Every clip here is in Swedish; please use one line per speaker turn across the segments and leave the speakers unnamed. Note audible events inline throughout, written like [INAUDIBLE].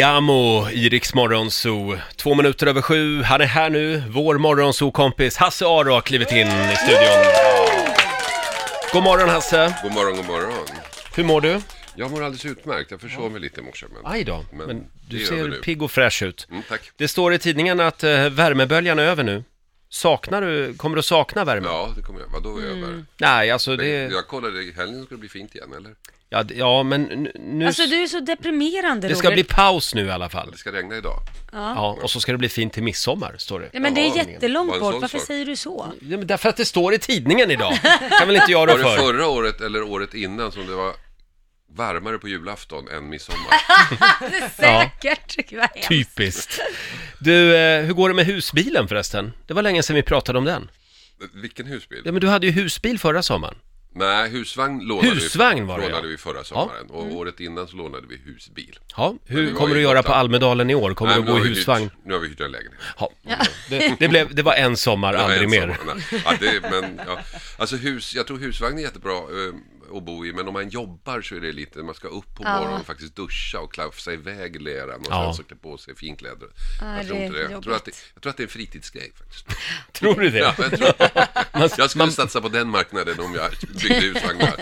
Liamo i Rix Morgonzoo. Två minuter över sju. Han är här nu. Vår Morgonzoo-kompis Hasse Aro har klivit in i studion. God morgon Hasse.
God morgon, god morgon.
Hur mår du?
Jag mår alldeles utmärkt. Jag försov mig lite i morse. Men...
Aj då.
Men
Men
det
du
är över
ser
nu.
pigg och fräsch ut.
Mm, tack.
Det står i tidningen att eh, värmeböljan är över nu. Saknar du, kommer du att sakna värmen?
Ja, det kommer jag. Vadå över?
Nej, alltså det,
Jag kollade, i helgen skulle det bli fint igen, eller?
ja, det- ja men nu- nu,
Alltså du är så deprimerande
det ska
Roger.
bli paus nu i alla fall.
Det ska regna idag.
Ja, och så ska det bli fint till midsommar, står det.
Ja, men det är
Ja, var
jättelångt
en
bort,
sån
varför
sak.
säger du så?
Mm.
[LAUGHS]
Ja, men därför att det står i tidningen idag. kan väl inte jag
Var
rå
det
för.
förra året eller året innan som det var varmare på julafton
[LAUGHS]
än midsommar?
Säkert! [LAUGHS] Vad hemskt.
Typ.
Typiskt. Du, eh, hur går det med husbilen förresten? Det var länge sedan vi pratade om den.
Vilken husbil?
Ja, men du hade ju husbil förra sommaren.
Nej, husvagn lånade,
Husvagn
vi,
var det,
lånade
ja. Mm.
vi förra sommaren. Och året innan så lånade vi husbil.
Ja, hur
var
kommer
ju
du göra
borta.
på Almedalen i år? Kommer du
men nu
gå i
har vi
husvagn?
Hyrt, nu har vi hyrt en lägenhet.
Ja. Det, det, blev, det var en sommar,
Jag är
aldrig
ensam.
mer.
Nej. Ja, det, men, ja. Alltså hus, jag tror husvagn är jättebra eh, att bo i, men om man jobbar så är det lite, man ska upp på morgonen och faktiskt duscha och klafsa iväg i leran och
Ja.
sen så klä på sig finkläder.
Ja,
jag, tror
det är
inte det. Jag, tror att det,
jobbigt.
jag tror att det är en fritidsgrej faktiskt.
[LAUGHS] Tror du det?
Ja, jag, tror,
[LAUGHS] Man,
jag skulle
man,
satsa på den marknaden om jag byggde husvagnar.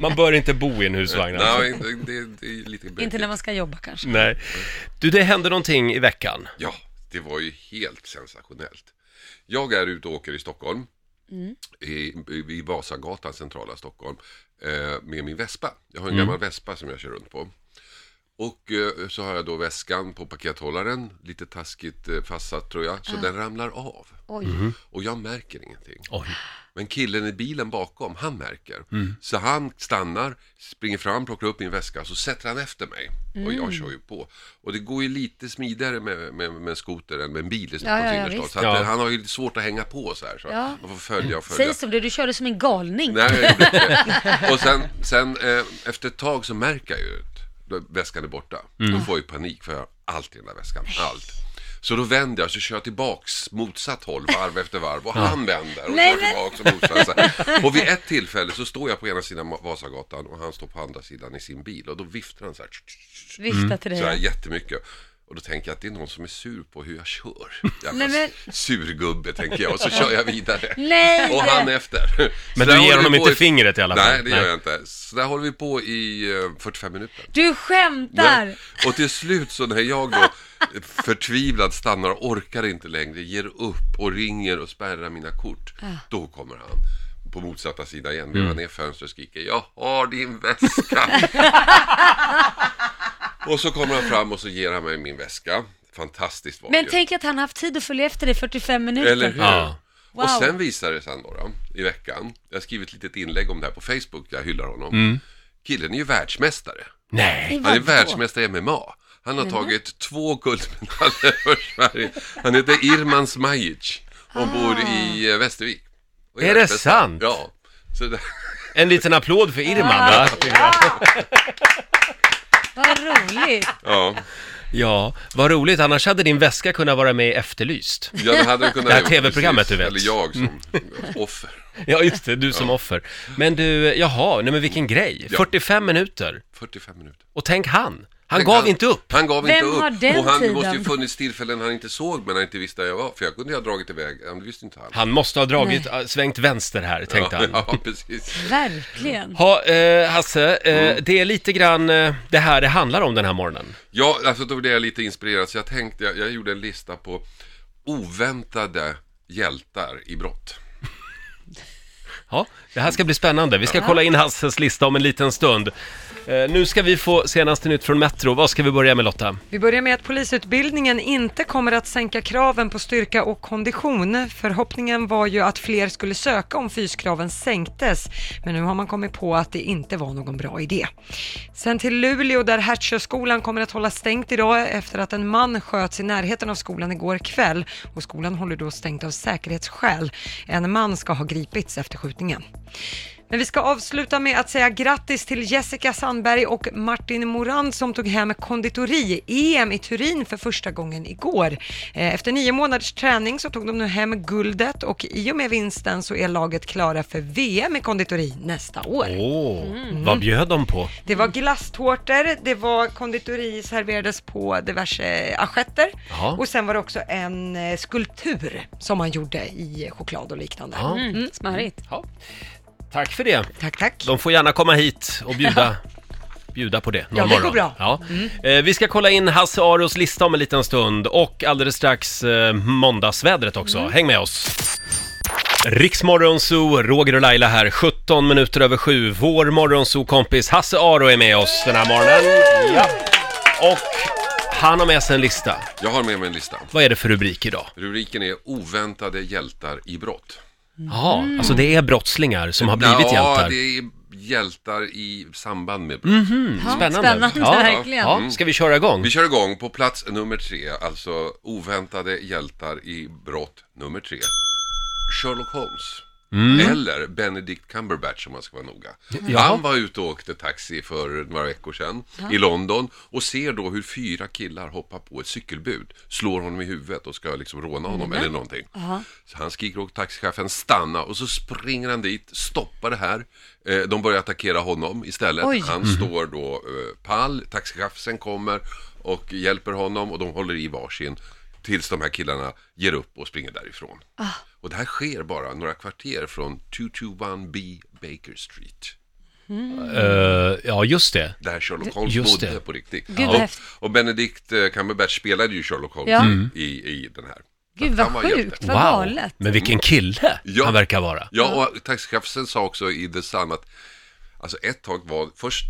man bör inte bo i en husvagn alltså.
Nej, det, det, det är lite
Inte
bökigt.
när man ska jobba kanske.
Nej. Du, det hände någonting i veckan.
Ja, det var ju helt sensationellt. Jag är ute och åker i Stockholm, i, i Vasagatan, centrala Stockholm, eh, med min Vespa. Jag har en gammal Vespa som jag kör runt på. Och eh, så har jag då väskan på pakethållaren, lite taskigt eh, fastsatt tror jag, så den ramlar av.
Oj.
Och jag märker ingenting.
Oj.
Men killen i bilen bakom, han märker.
Mm.
Så han stannar, springer fram, plockar upp min väska, så sätter han efter mig. Och
Mm.
jag kör ju på. Och det går ju lite smidigare med, med, med en skoter än med en bil i Stockholms
ja, ja,
innerstad.
visst.
Så att,
Ja.
eh, han har ju lite svårt att hänga på så här. Så
Ja.
Man får följa och följa.
Säg som det, du körde som en galning.
Nej, jag gjorde inte det. Och sen, sen eh, efter ett tag så märker jag ju att då- väskan är borta. Då får jag ju panik för jag har allt i den där väskan. Allt. Så då vänder jag så kör jag tillbaks motsatt håll varv efter varv och han vänder och
Nej,
kör
men-
tillbaks och motsatt. så här. Och vid ett tillfälle så står jag på ena sidan Vasagatan och han står på andra sidan i sin bil och då viftar han så här,
Vifta till dig.
Mm. så här jättemycket. Och då tänker jag att det är någon som är sur på hur jag kör. Jävla
Nej, men-
Surgubbe tänker jag och så kör jag vidare.
Nej!
Och han efter. Så
Men
där
du ger
håller vi
honom
på
inte
i-
fingret i alla fall?
Nej, det gör jag inte. Så där håller vi på i eh, 45 minuter.
Du skämtar!
Nej. Och till slut så när jag då förtvivlad stannar, orkar inte längre, ger upp och ringer och spärrar mina kort. Då kommer han på motsatta sidan igen,
Mm.
vevar ner fönstret och skriker Jag har din väska! och så kommer han fram och så ger han mig min väska. Fantastiskt var
Men
det ju.
tänk att han haft tid att följa efter dig i 45 minuter.
Eller hur?
Ja.
Wow.
Och sen visade det sig då, då, i veckan, jag har skrivit ett litet inlägg om det här på Facebook, jag hyllar honom.
Mm.
Killen är ju världsmästare.
Nej.
I
Han är
vadå?
världsmästare i MMA. Han har tagit två guldmedaljer för Sverige. Han heter Irman Smajic och bor i eh, Västervik. Och
Är det
världsmästare.
sant?
Ja. Så det, [LAUGHS]
En liten applåd för Irman, va?
[LAUGHS]
Vad roligt!
ja,
Ja, vad roligt. Annars hade din väska kunnat vara med i Efterlyst.
ja, det hade han kunnat
Det här
gjort,
TV-programmet,
precis.
du vet.
Eller jag som offer.
[LAUGHS] Ja, just det. Du som offer. Men du, jaha, nej men vilken grej.
Ja.
45 minuter.
45 minuter.
Och tänk han. Han
Tänk,
gav inte upp.
Han gav
Vem
inte upp.
har den
och han det
tiden?
måste ju funnits tillfällen han inte såg men han inte visste där jag var. För jag kunde ju ha dragit iväg, ja, men det visste inte han.
Han måste ha dragit, äh, svängt vänster här, tänkte han.
[LAUGHS] Ja, precis.
Verkligen.
Ha, eh, Hasse, eh, det är lite grann eh, det här det handlar om den här morgonen.
Ja, alltså då blev jag lite inspirerad så jag tänkte, jag, jag gjorde en lista på oväntade hjältar i brott.
Ja, det här ska bli spännande. Vi ska kolla in Hasses lista om en liten stund. Eh, nu ska vi få senaste nytt från Metro. Vad ska vi börja med Lotta?
Vi börjar med att polisutbildningen inte kommer att sänka kraven på styrka och kondition. Förhoppningen var ju att fler skulle söka om fyskraven sänktes, men nu har man kommit på att det inte var någon bra idé. Sen till Luleå där Hertsöskolan kommer att hålla stängt idag efter att en man sköts i närheten av skolan igår kväll och skolan håller då stängt av säkerhetsskäl. En man ska ha gripits efter skjutningen. Men vi ska avsluta med att säga grattis till Jessica Sandberg och Martin Morand som tog hem konditori-EM i Turin för första gången igår. Eh, Efter nio månaders träning så tog de nu hem guldet och i och med vinsten så är laget klara för VM i konditori nästa år.
Åh, vad bjöd de på?
Det var glasstårtor, det var konditori serverades på diverse assietter
Jaha.
och sen var det också en eh, skulptur som man gjorde i choklad och liknande.
Ja.
Mm, smarrigt.
Ja. Tack för det.
Tack, tack.
De får gärna komma hit och bjuda, bjuda på det någon
Ja, det går
morgon.
bra.
Ja. Eh, vi ska kolla in Hasse Aros lista om en liten stund och alldeles strax eh, måndagsvädret också. Häng med oss! Riksmorgonzoo, Roger och Laila här, 17 minuter över 7. Vår morgonzoo-kompis Hasse Aro är med oss den här morgonen. Ja. Och han har med sig en lista.
Jag har med mig en lista.
Vad är det för rubrik idag?
Rubriken är Oväntade hjältar i brott.
Jaha, alltså det är brottslingar som har blivit
ja,
hjältar. Mm.
det är hjältar i samband med brott. Mm.
Ja,
Spännande.
spännande
Ja.
verkligen.
Ja, ska vi köra igång?
Vi kör igång på plats nummer tre, alltså oväntade hjältar i brott nummer tre. Sherlock Holmes. Eller Benedict Cumberbatch om man ska vara noga.
Jaha.
Han var ute och åkte taxi för några veckor sedan i London och ser då hur fyra killar hoppar på ett cykelbud, slår honom i huvudet och ska liksom råna honom eller någonting. Så han skriker åt taxichauffören stanna och så springer han dit, stoppar det här. Eh, De börjar attackera honom istället.
Oj.
Han står då eh, pall, taxichauffören kommer och hjälper honom och de håller i varsin tills de här killarna ger upp och springer därifrån. Och det här sker bara några kvarter från 221B Baker Street. Mm.
Eh, ja, just det.
Där Sherlock Holmes
Just
bodde
det.
på riktigt.
vad
och,
häftigt.
och Benedict eh, Cumberbatch spelade ju Sherlock Holmes
Ja.
Mm.
i, i den här.
Gud
Han
vad
var hjälte.
sjukt, vad galet.
Men vilken kille
Ja.
han verkar vara.
Ja, och taxichauffören sa också i The Sun att Alltså ett tag var, först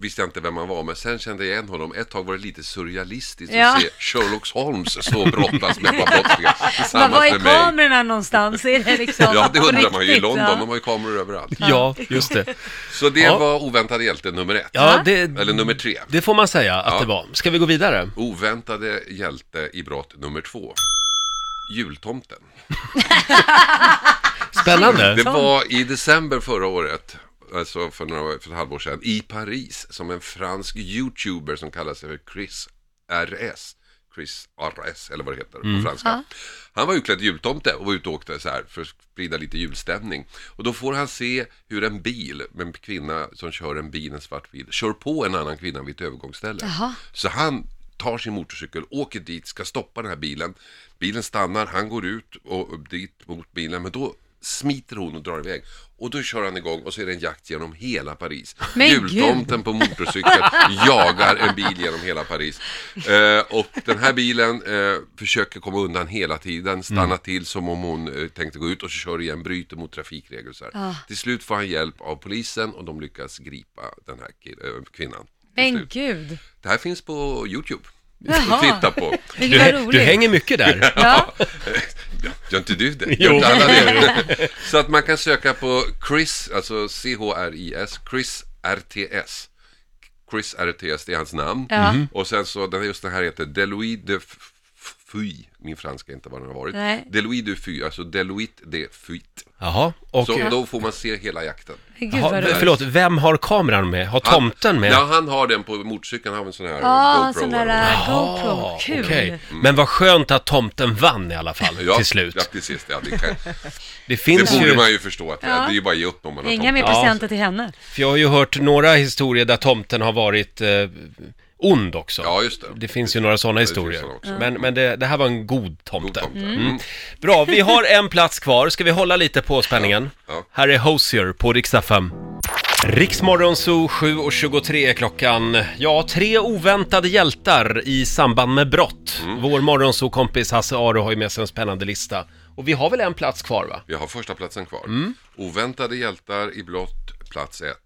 visste jag inte vem han var, men sen kände jag igen honom. Ett tag var det lite surrealistiskt
Ja.
att se Sherlock Holmes stå och brottas med ett par
[LAUGHS]
brottslingar
Men
tillsammans
Var är
med mig.
kamerorna någonstans?
[LAUGHS]
Är det liksom
Ja, det
på
undrar man ju. I
riktigt,
London,
ja?
de har ju kameror överallt.
Ja, just det.
Så det
Ja.
var Oväntade hjälte nummer ett.
[LAUGHS] Ja, det,
Eller nummer tre.
det får man säga att
Ja.
det var. Ska vi gå vidare?
Oväntade hjälte i brott nummer två. Jultomten.
Spännande.
Det var i december förra året, alltså för, några, för ett halvår sedan, i Paris som en fransk youtuber som kallar sig för Chris RS, Chris RS eller vad det heter på franska. Han var utklädd till jultomte och var ute och åkte så här för att sprida lite julstämning. Och då får han se hur en bil, med en kvinna som kör en bil, en svart bil, kör på en annan kvinna vid ett övergångsställe. Så han tar sin motorcykel, åker dit, ska stoppa den här bilen. Bilen stannar, han går ut och upp dit mot bilen, men då smiter hon och drar iväg. Och då kör han igång och så är det en jakt genom hela Paris.
Men
Jultomten på motorcykel jagar en bil genom hela Paris. Eh, och den här bilen eh, försöker komma undan hela tiden, stanna till som om hon eh, tänkte gå ut och så kör igen, bryter mot trafikregler. och Så här. Till slut får han hjälp av polisen och de lyckas gripa den här kill- eh, kvinnan. till
Men
slut.
gud.
Det här finns på Youtube. [LAUGHS]
Jaha.
Att titta på.
Vilket vad
Du,
roligt.
du hänger mycket
[LAUGHS]
där.
ja.
Gör inte du det?
[LAUGHS] Jo.
Gör inte alla
[LAUGHS]
det? Så att man kan söka på Chris, alltså C-H-R-I-S, Chris RTS. Chris RTS, det är hans namn.
Ja. Mhm.
Och sen så, den här- just den här heter Deluis de F- F- Fuy. Min franska är inte vad den har varit.
Nej.
Deluis de Fuy, alltså Deluit de Fuit.
Jaha, och...
Så då får man se hela jakten.
Men Gud
Jaha,
vad roligt.
förlåt, vem har kameran med? Har tomten med?
Ja, han har den på motorcykeln, han har en sån här
Ja, en
GoPro
sån
eller vad det
där
är.
äh, GoPro.
Ah,
Kul.
okej. Men vad skönt att tomten vann i alla fall,
[LAUGHS] Ja,
till slut.
Ja, till sist. Ja, det, kan,
Det
det
finns
borde
ju...
man ju förstå att det
Ja.
är ju bara att ge upp om man har
Inga mer
tomten.
presenter till henne.
För jag har ju hört några historier där tomten har varit eh, ond också.
Ja, just det.
Det finns ju några sådana
finns
historier.
såna också.
Men, men det, det här var en god tomte.
God tomte.
Mm. Bra, vi har en plats kvar. Ska vi hålla lite på spänningen?
Ja.
Här är Hosier på riksdag 5. Riksmorgon Zoo 7.23 är klockan. Ja, tre oväntade hjältar i samband med brott.
Mm.
Vår morgonzoo-kompis Hasse Aro har ju med sig en spännande lista. Och vi har väl en plats kvar va?
Vi har första platsen kvar.
Mm.
Oväntade hjältar i blått, plats ett.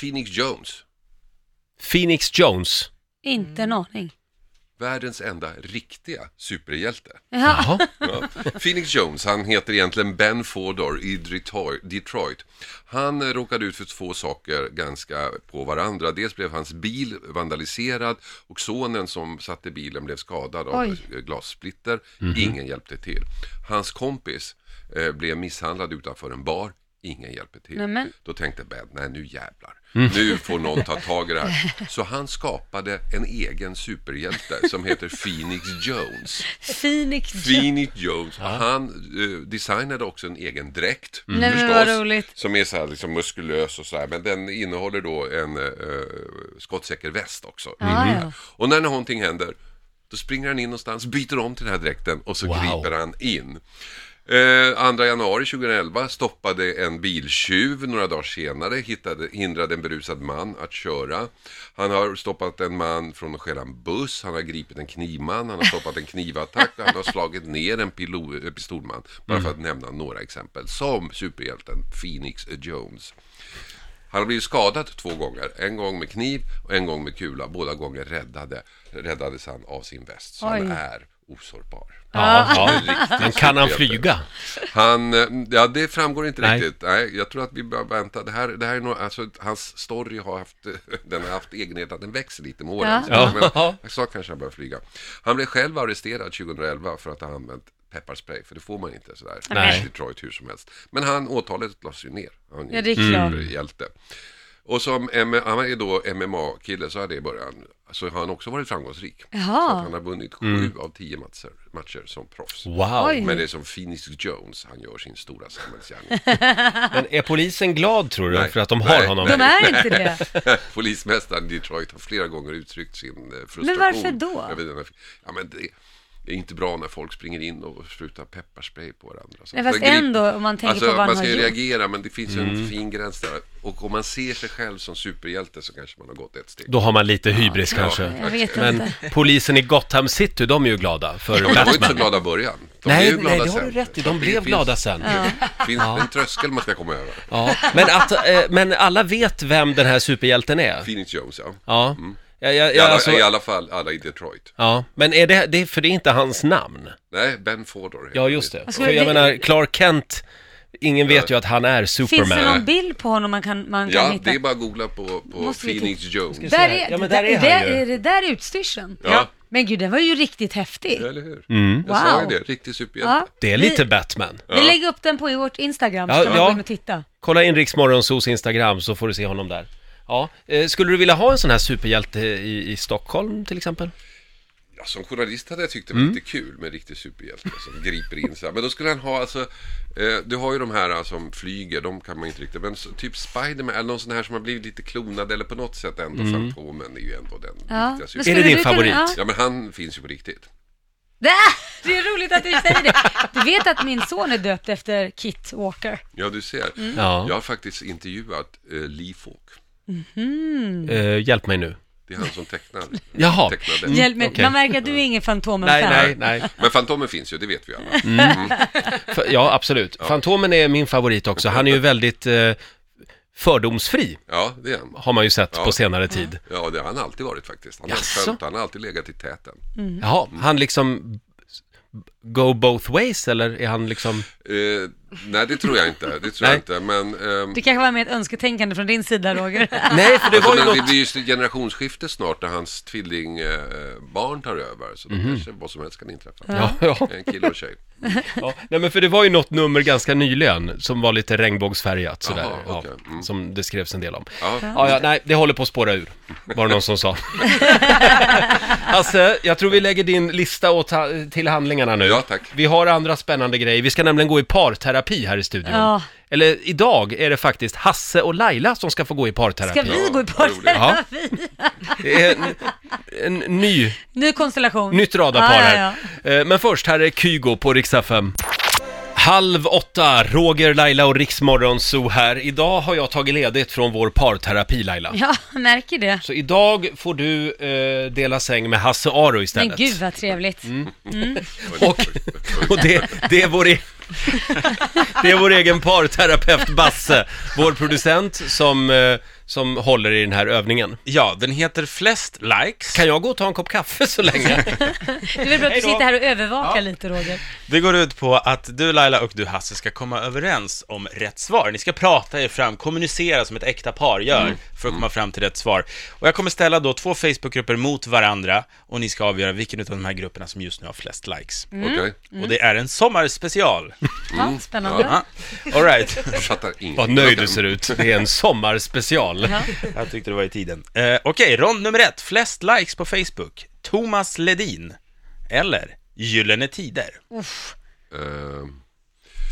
Phoenix Jones,
Phoenix Jones.
Inte en aning.
världens enda riktiga superhjälte.
Ja.
Jaha.
Ja. [LAUGHS] Phoenix Jones, han heter egentligen Ben Fodor i Detroit- Detroit. Han eh, råkade ut för två saker ganska på varandra. Dels blev hans bil vandaliserad och sonen som satte bilen blev skadad av
Oj. Mhm.
eh, glassplitter. Ingen hjälpte till. Hans kompis eh, blev misshandlad utanför en bar. Ingen hjälper till.
Nämen. Mm.
Då tänkte Ben, nej nu jävlar. Nu får någon ta tag i det
[LAUGHS]
här. Så han skapade en egen superhjälte som heter Phoenix Jones.
Phoenix. [LAUGHS]
Phoenix Jones, han eh, designade också en egen dräkt
Nej, men vad roligt.
Som är så här liksom muskulös och så här, men den innehåller då en eh, skottsäker väst också.
Ja, ja.
Och när någonting händer, då springer han in någonstans, byter om till den här dräkten och så
Wow.
griper han in. Eh, 2 januari 2011 stoppade en biltjuv några dagar senare, hittade, hindrade en berusad man att köra. Han har stoppat en man från att stjäla en buss, han har gripit en knivman, han har stoppat en knivattack och han har slagit ner en pilo, eh, pistolman. Bara för att nämna några exempel, som superhjälten Phoenix Jones. Han har blivit skadad två gånger. En gång med kniv och en gång med kula. Båda gånger räddade, räddades han av sin väst. Så han
Oj.
är osårbar.
Ja, ja.
Riktigt
Men kan han
superhjälte.
flyga?
Han, eh, ja det framgår inte
Nej.
riktigt. Nej, jag tror att vi bör vänta. Det här, det här är nog, alltså hans story har haft, [LAUGHS] den har haft egenheten att den växer lite med åren.
Ja.
Så, men,
Ja.
jag sa kanske han börjar flyga. Han blev själv arresterad 2011 för att ha använt pepparspray, för det får man inte sådär.
Nej.
I Detroit hur som helst. Men han, åtalet lades ju ner. Han Mm.
Ja, det är klart.
hjälte. Och som M- han är då MMA-kille, så här det i början, så har han också varit framgångsrik.
Jaha.
Så att han har vunnit sju
Mm.
av tio matcher, matcher som proffs.
Wow.
Oj.
Men det är som Phoenix Jones, han gör sin stora samhällsgärning. [LAUGHS]
Men är polisen glad tror du
Nej.
för att de har
Nej,
honom?
De är inte det.
Polismästaren i Detroit har flera gånger uttryckt sin eh, frustration.
Men varför då?
över den här- Ja, men det det är inte bra när folk springer in och sprutar pepparspray på varandra. Så
Nej, fast
det griper-
ändå, om man tänker
alltså,
på vad han
Man ska
har
ju
gjort.
reagera, men det finns ju
Mm.
en fin gräns där. Och om man ser sig själv som superhjälte så kanske man har gått ett steg.
Då har man lite hybris
Jag
kanske.
vet
Men
inte.
polisen i Gotham City, de är ju glada
Ja,
för
men De var inte så
Batman.
glada i början. De blev
Nej,
ju glada
nej, det har
sen.
du rätt i.
Så
De blev
finns-
glada sen.
Det finns en tröskel man ska komma över.
Ja. Men, att, eh, men alla vet vem den här superhjälten är?
Phoenix Jones, ja.
Ja. Ja, ja,
I
ja,
alla,
alltså,
I alla fall alla i Detroit.
ja. Men är det, det, är- för det är inte hans namn?
Nej, Ben Fordor. heter
Ja,
han.
just det.
Alltså,
För jag
det-
menar, Clark Kent, ingen vet ju att han är
Finns det någon
Superman.
bild på honom man kan, man kan
Ja,
hitta?
det är bara att googla på, på
Måste vi
Phoenix Jones.
Där är,
Ja, men där är han
där,
ju.
är det där utstyrseln?
Ja.
Men gud, den var ju riktigt häftig.
Eller hur? Mm. Jag sa ju
Wow.
det, riktig superhjälte.
Ja.
Det är lite Batman.
Vi, vi lägger upp den på i vårt Instagram, så
Ja,
kan man
ja.
gå in och titta.
Kolla in Rix Morgonzos Instagram så får du se honom där. Ja, eh, skulle du vilja ha en sån här superhjälte i, i Stockholm till exempel?
Ja, som journalist hade jag tyckt det var lite kul med en riktig superhjälte som griper in så här. Men då skulle han ha alltså, eh, du har ju de här eh, som flyger, de kan man ju inte riktigt, men så, typ Spiderman eller någon sån här som har blivit lite klonad eller på något sätt ändå, Fantomen är ju ändå den riktiga
Ja. Men
superhjälten.
Är
skulle
det din
du kunna-
favorit?
ja.
Ja men han finns ju på riktigt.
Det är- [LAUGHS] Det är roligt att du säger det. Du vet att min son är döpt efter Kit Walker.
Ja du ser.
Mm.
Ja.
Jag har faktiskt intervjuat eh, Lee Falk.
Eh, hjälp mig nu.
Det är han som tecknar.
Jaha.
tecknade.
Hjälp mig,
okej.
man märker att du är ingen Fantomen-fan.
Nej, nej, nej.
Men Fantomen finns ju, det vet vi alla.
F- Ja, absolut. Fantomen är min favorit också. Han är ju väldigt eh, fördomsfri,
Ja, det är han.
har man ju sett
Ja.
på senare tid.
Ja, det har han alltid varit faktiskt. Han har,
Jaså?
skämt, han har alltid legat i täten.
Jaha, han liksom go both ways eller är han liksom...
Eh, nej, det tror jag inte. Det tror
Nej.
jag inte. Men, ehm,
Det kanske var mer ett önsketänkande från din
[LAUGHS]
sida, Roger.
Nej, för det var ju
Alltså, men det
något...
blir ju generationsskifte snart när hans tvillingbarn eh, barn tar över. Så då kanske vad som helst kan inträffa.
Mhm. Ja, ja,
[LAUGHS] En kille och en tjej.
ja. Nej, men för det var ju något nummer ganska nyligen som var lite regnbågsfärgat sådär.
Jaha,
ja,
okej. Mm.
Som det skrevs en del om.
Ja.
Ja, ja, nej, det håller på att spåra ur, var det någon som
[LAUGHS]
sa. Hasse, jag tror vi lägger din lista åt, till handlingarna nu.
Ja, tack.
Vi har andra spännande grejer. Vi ska nämligen gå i parterapi här i studion.
Ja.
Eller idag är det faktiskt Hasse och Laila som ska få gå i parterapi.
Ska vi gå
vad
i
roligt.
[LAUGHS] parterapi?
Det är en, en ny,
Ny konstellation.
nytt radarpar
Ja,
här.
ja,
Eh, Men först, här är Kygo på Rix FM. Halv åtta, Roger, Laila och Riksmorgon Zoo här. Idag har jag tagit ledigt från vår parterapi, Laila.
ja. ja, märker det.
Så idag får du eh, dela säng med Hasse Aro istället.
Men gud vad trevligt.
Mm.
[LAUGHS] Och, och det, det, är vår e- [LAUGHS] det är vår egen parterapeut Basse, vår producent som eh, som håller i den här övningen.
Ja, den heter Flest likes.
Kan jag gå och ta en kopp kaffe så länge?
Det är väl bra att du
Hej då.
sitter här och övervakar
Ja.
lite, Roger.
Det går ut på att du Laila och du Hasse ska komma överens om rätt svar. Ni ska prata er fram, kommunicera som ett äkta par gör för att komma fram till rätt svar. Och jag kommer ställa då två Facebookgrupper mot varandra och ni ska avgöra vilken av de här grupperna som just nu har flest likes.
Mm.
Okej,
Och det är en sommarspecial.
Mm.
Ja, spännande.
Ja. All right.
[LAUGHS] jag fattar ingenting.
Vad nöjd du ser ut. Det är en sommarspecial.
Ja.
Jag tyckte det var i tiden. Eh, Okej, rond nummer ett. Flest likes på Facebook. Thomas Ledin. Eller Gyllene Tider.
Uff,
Eh,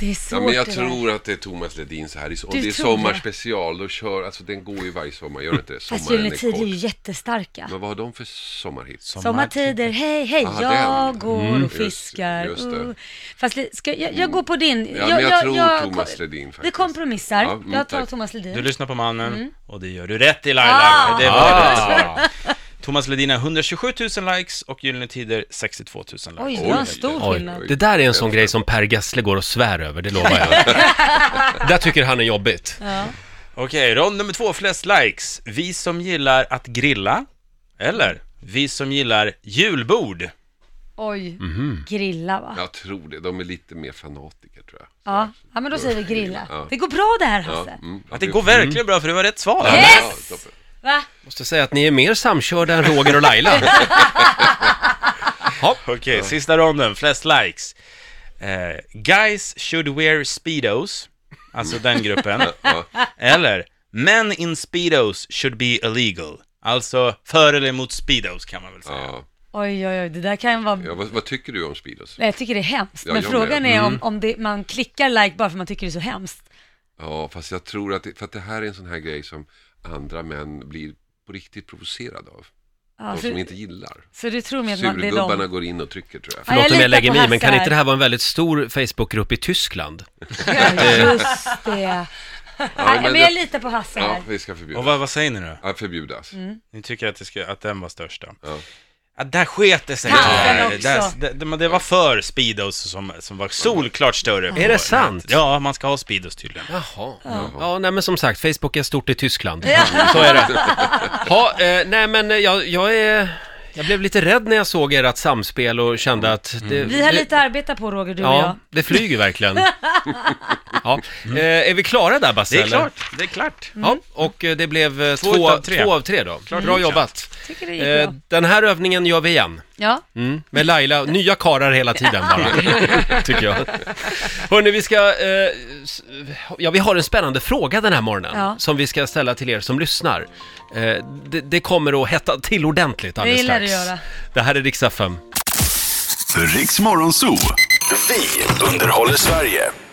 det är svårt
Ja, men jag
det där.
tror att det är Thomas Ledins här. i so- Om
Du
det är
tror det?
sommarspecial, då kör, alltså den går ju varje sommar, gör det inte det?
Fast
Sommaren
Gyllene
är
Tider är ju
kort.
jättestarka.
Men vad har de för sommarhits?
Sommartider, hej hej,
Ah,
jag
den.
går
Mm.
och
Just-
fiskar.
just det. Mm.
Uh. Fast li- ska, jag, jag går på din.
Ja, men jag tror Thomas Ledin
Vi
faktiskt.
kompromissar.
Ja, mm,
jag tar
tack.
Thomas Ledin.
Du lyssnar på mannen och det gör du rätt i Laila.
Mm. Ah.
Det var
Ah.
rätt svar. Thomas Ledin har 127 000 likes och Gyllene Tider 62 000 likes.
Oj, det var en
Oj.
stor
Oj,
skillnad.
det där är en sån grej som Per Gessle går och svär över, det lovar jag.
[LAUGHS]
där tycker han är jobbigt.
Ja.
Okej, rond nummer två, flest likes. Vi som gillar att grilla. Eller vi som gillar julbord.
Oj,
Mhm.
grilla va? Ja.
Jag tror det, de är lite mer fanatiker tror jag.
Ja. men då säger vi grilla.
Ja.
Det går bra det här Hasse.
mm.
Att det går verkligen bra för det var rätt svar.
Ja,
Yes!
toppen.
Va?
Måste säga att ni är mer samkörda än Roger och
[LAUGHS]
Laila. Ja,
Okej, sista ronden, flest likes. Eh, guys should wear speedos, alltså den gruppen.
[LAUGHS]
Ja,
Eller, men in speedos should be illegal. Alltså, för eller emot speedos kan man väl säga.
ja.
Oj, oj, oj, det där kan vara...
Ja, vad, vad tycker du om Speedos?
Nej, Jag tycker det är hemskt.
Ja,
men
jag
frågan
med. Mm.
är om, om det, man klickar like bara för man tycker det är så hemskt.
Ja, fast jag tror att det, för att det här är en sån här grej som andra män blir på riktigt provocerade av.
Ja,
de
så,
som inte gillar.
så du tror med att man, det är
Surgubbarna
de?
går in och trycker tror jag.
Ja,
Förlåt om
litar
jag lägger
på
mig i,
Hasse
men kan inte det
här.
här vara en väldigt stor Facebookgrupp i Tyskland?
Ja, just
[LAUGHS]
det. Nej,
men
men jag
det-
litar på Hasse
Ja,
här.
vi ska förbjuda.
Och vad, vad säger ni då?
Ja, förbjudas.
Mm.
Ni tycker att, det ska, att den var störst då?
Ja.
Ja, där sket det sig.
Tanten
tyvärr.
också.
Där- det, det, men det var för speedos som, som var solklart större. på
Är det sant?
Ja, man ska ha speedos tydligen.
Jaha. Ja, nej men som sagt, Facebook är stort i Tyskland. Så är det. Ja, eh, nej men eh, jag, jag är... Jag blev lite rädd när jag såg ert samspel och kände att det...
Mm. Vi har
det-
lite arbete på Roger, du och jag.
Ja, det flyger
[LAUGHS]
verkligen. Ja. Eh, är vi klara där, Basse?
Det är
eller?
klart, det är klart.
Mm.
Ja, och eh, det blev eh, två,
Två
två, av
utav
tre.
tre.
då. Bra jobbat.
Tycker Mm. det gick
Eh,
bra.
den här övningen gör vi igen.
Ja.
Mm. Med Laila, nya karar hela tiden
[LAUGHS]
bara, tycker jag. Hörrni, vi ska... Eh, s- ja, vi har en spännande fråga den här morgonen
Ja.
som vi ska ställa till er som lyssnar. Eh, det, det kommer att hetta till ordentligt alldeles
gillar
strax.
det att göra.
Det här är Rix FM.
Riks Morgonzoo. Vi underhåller Sverige.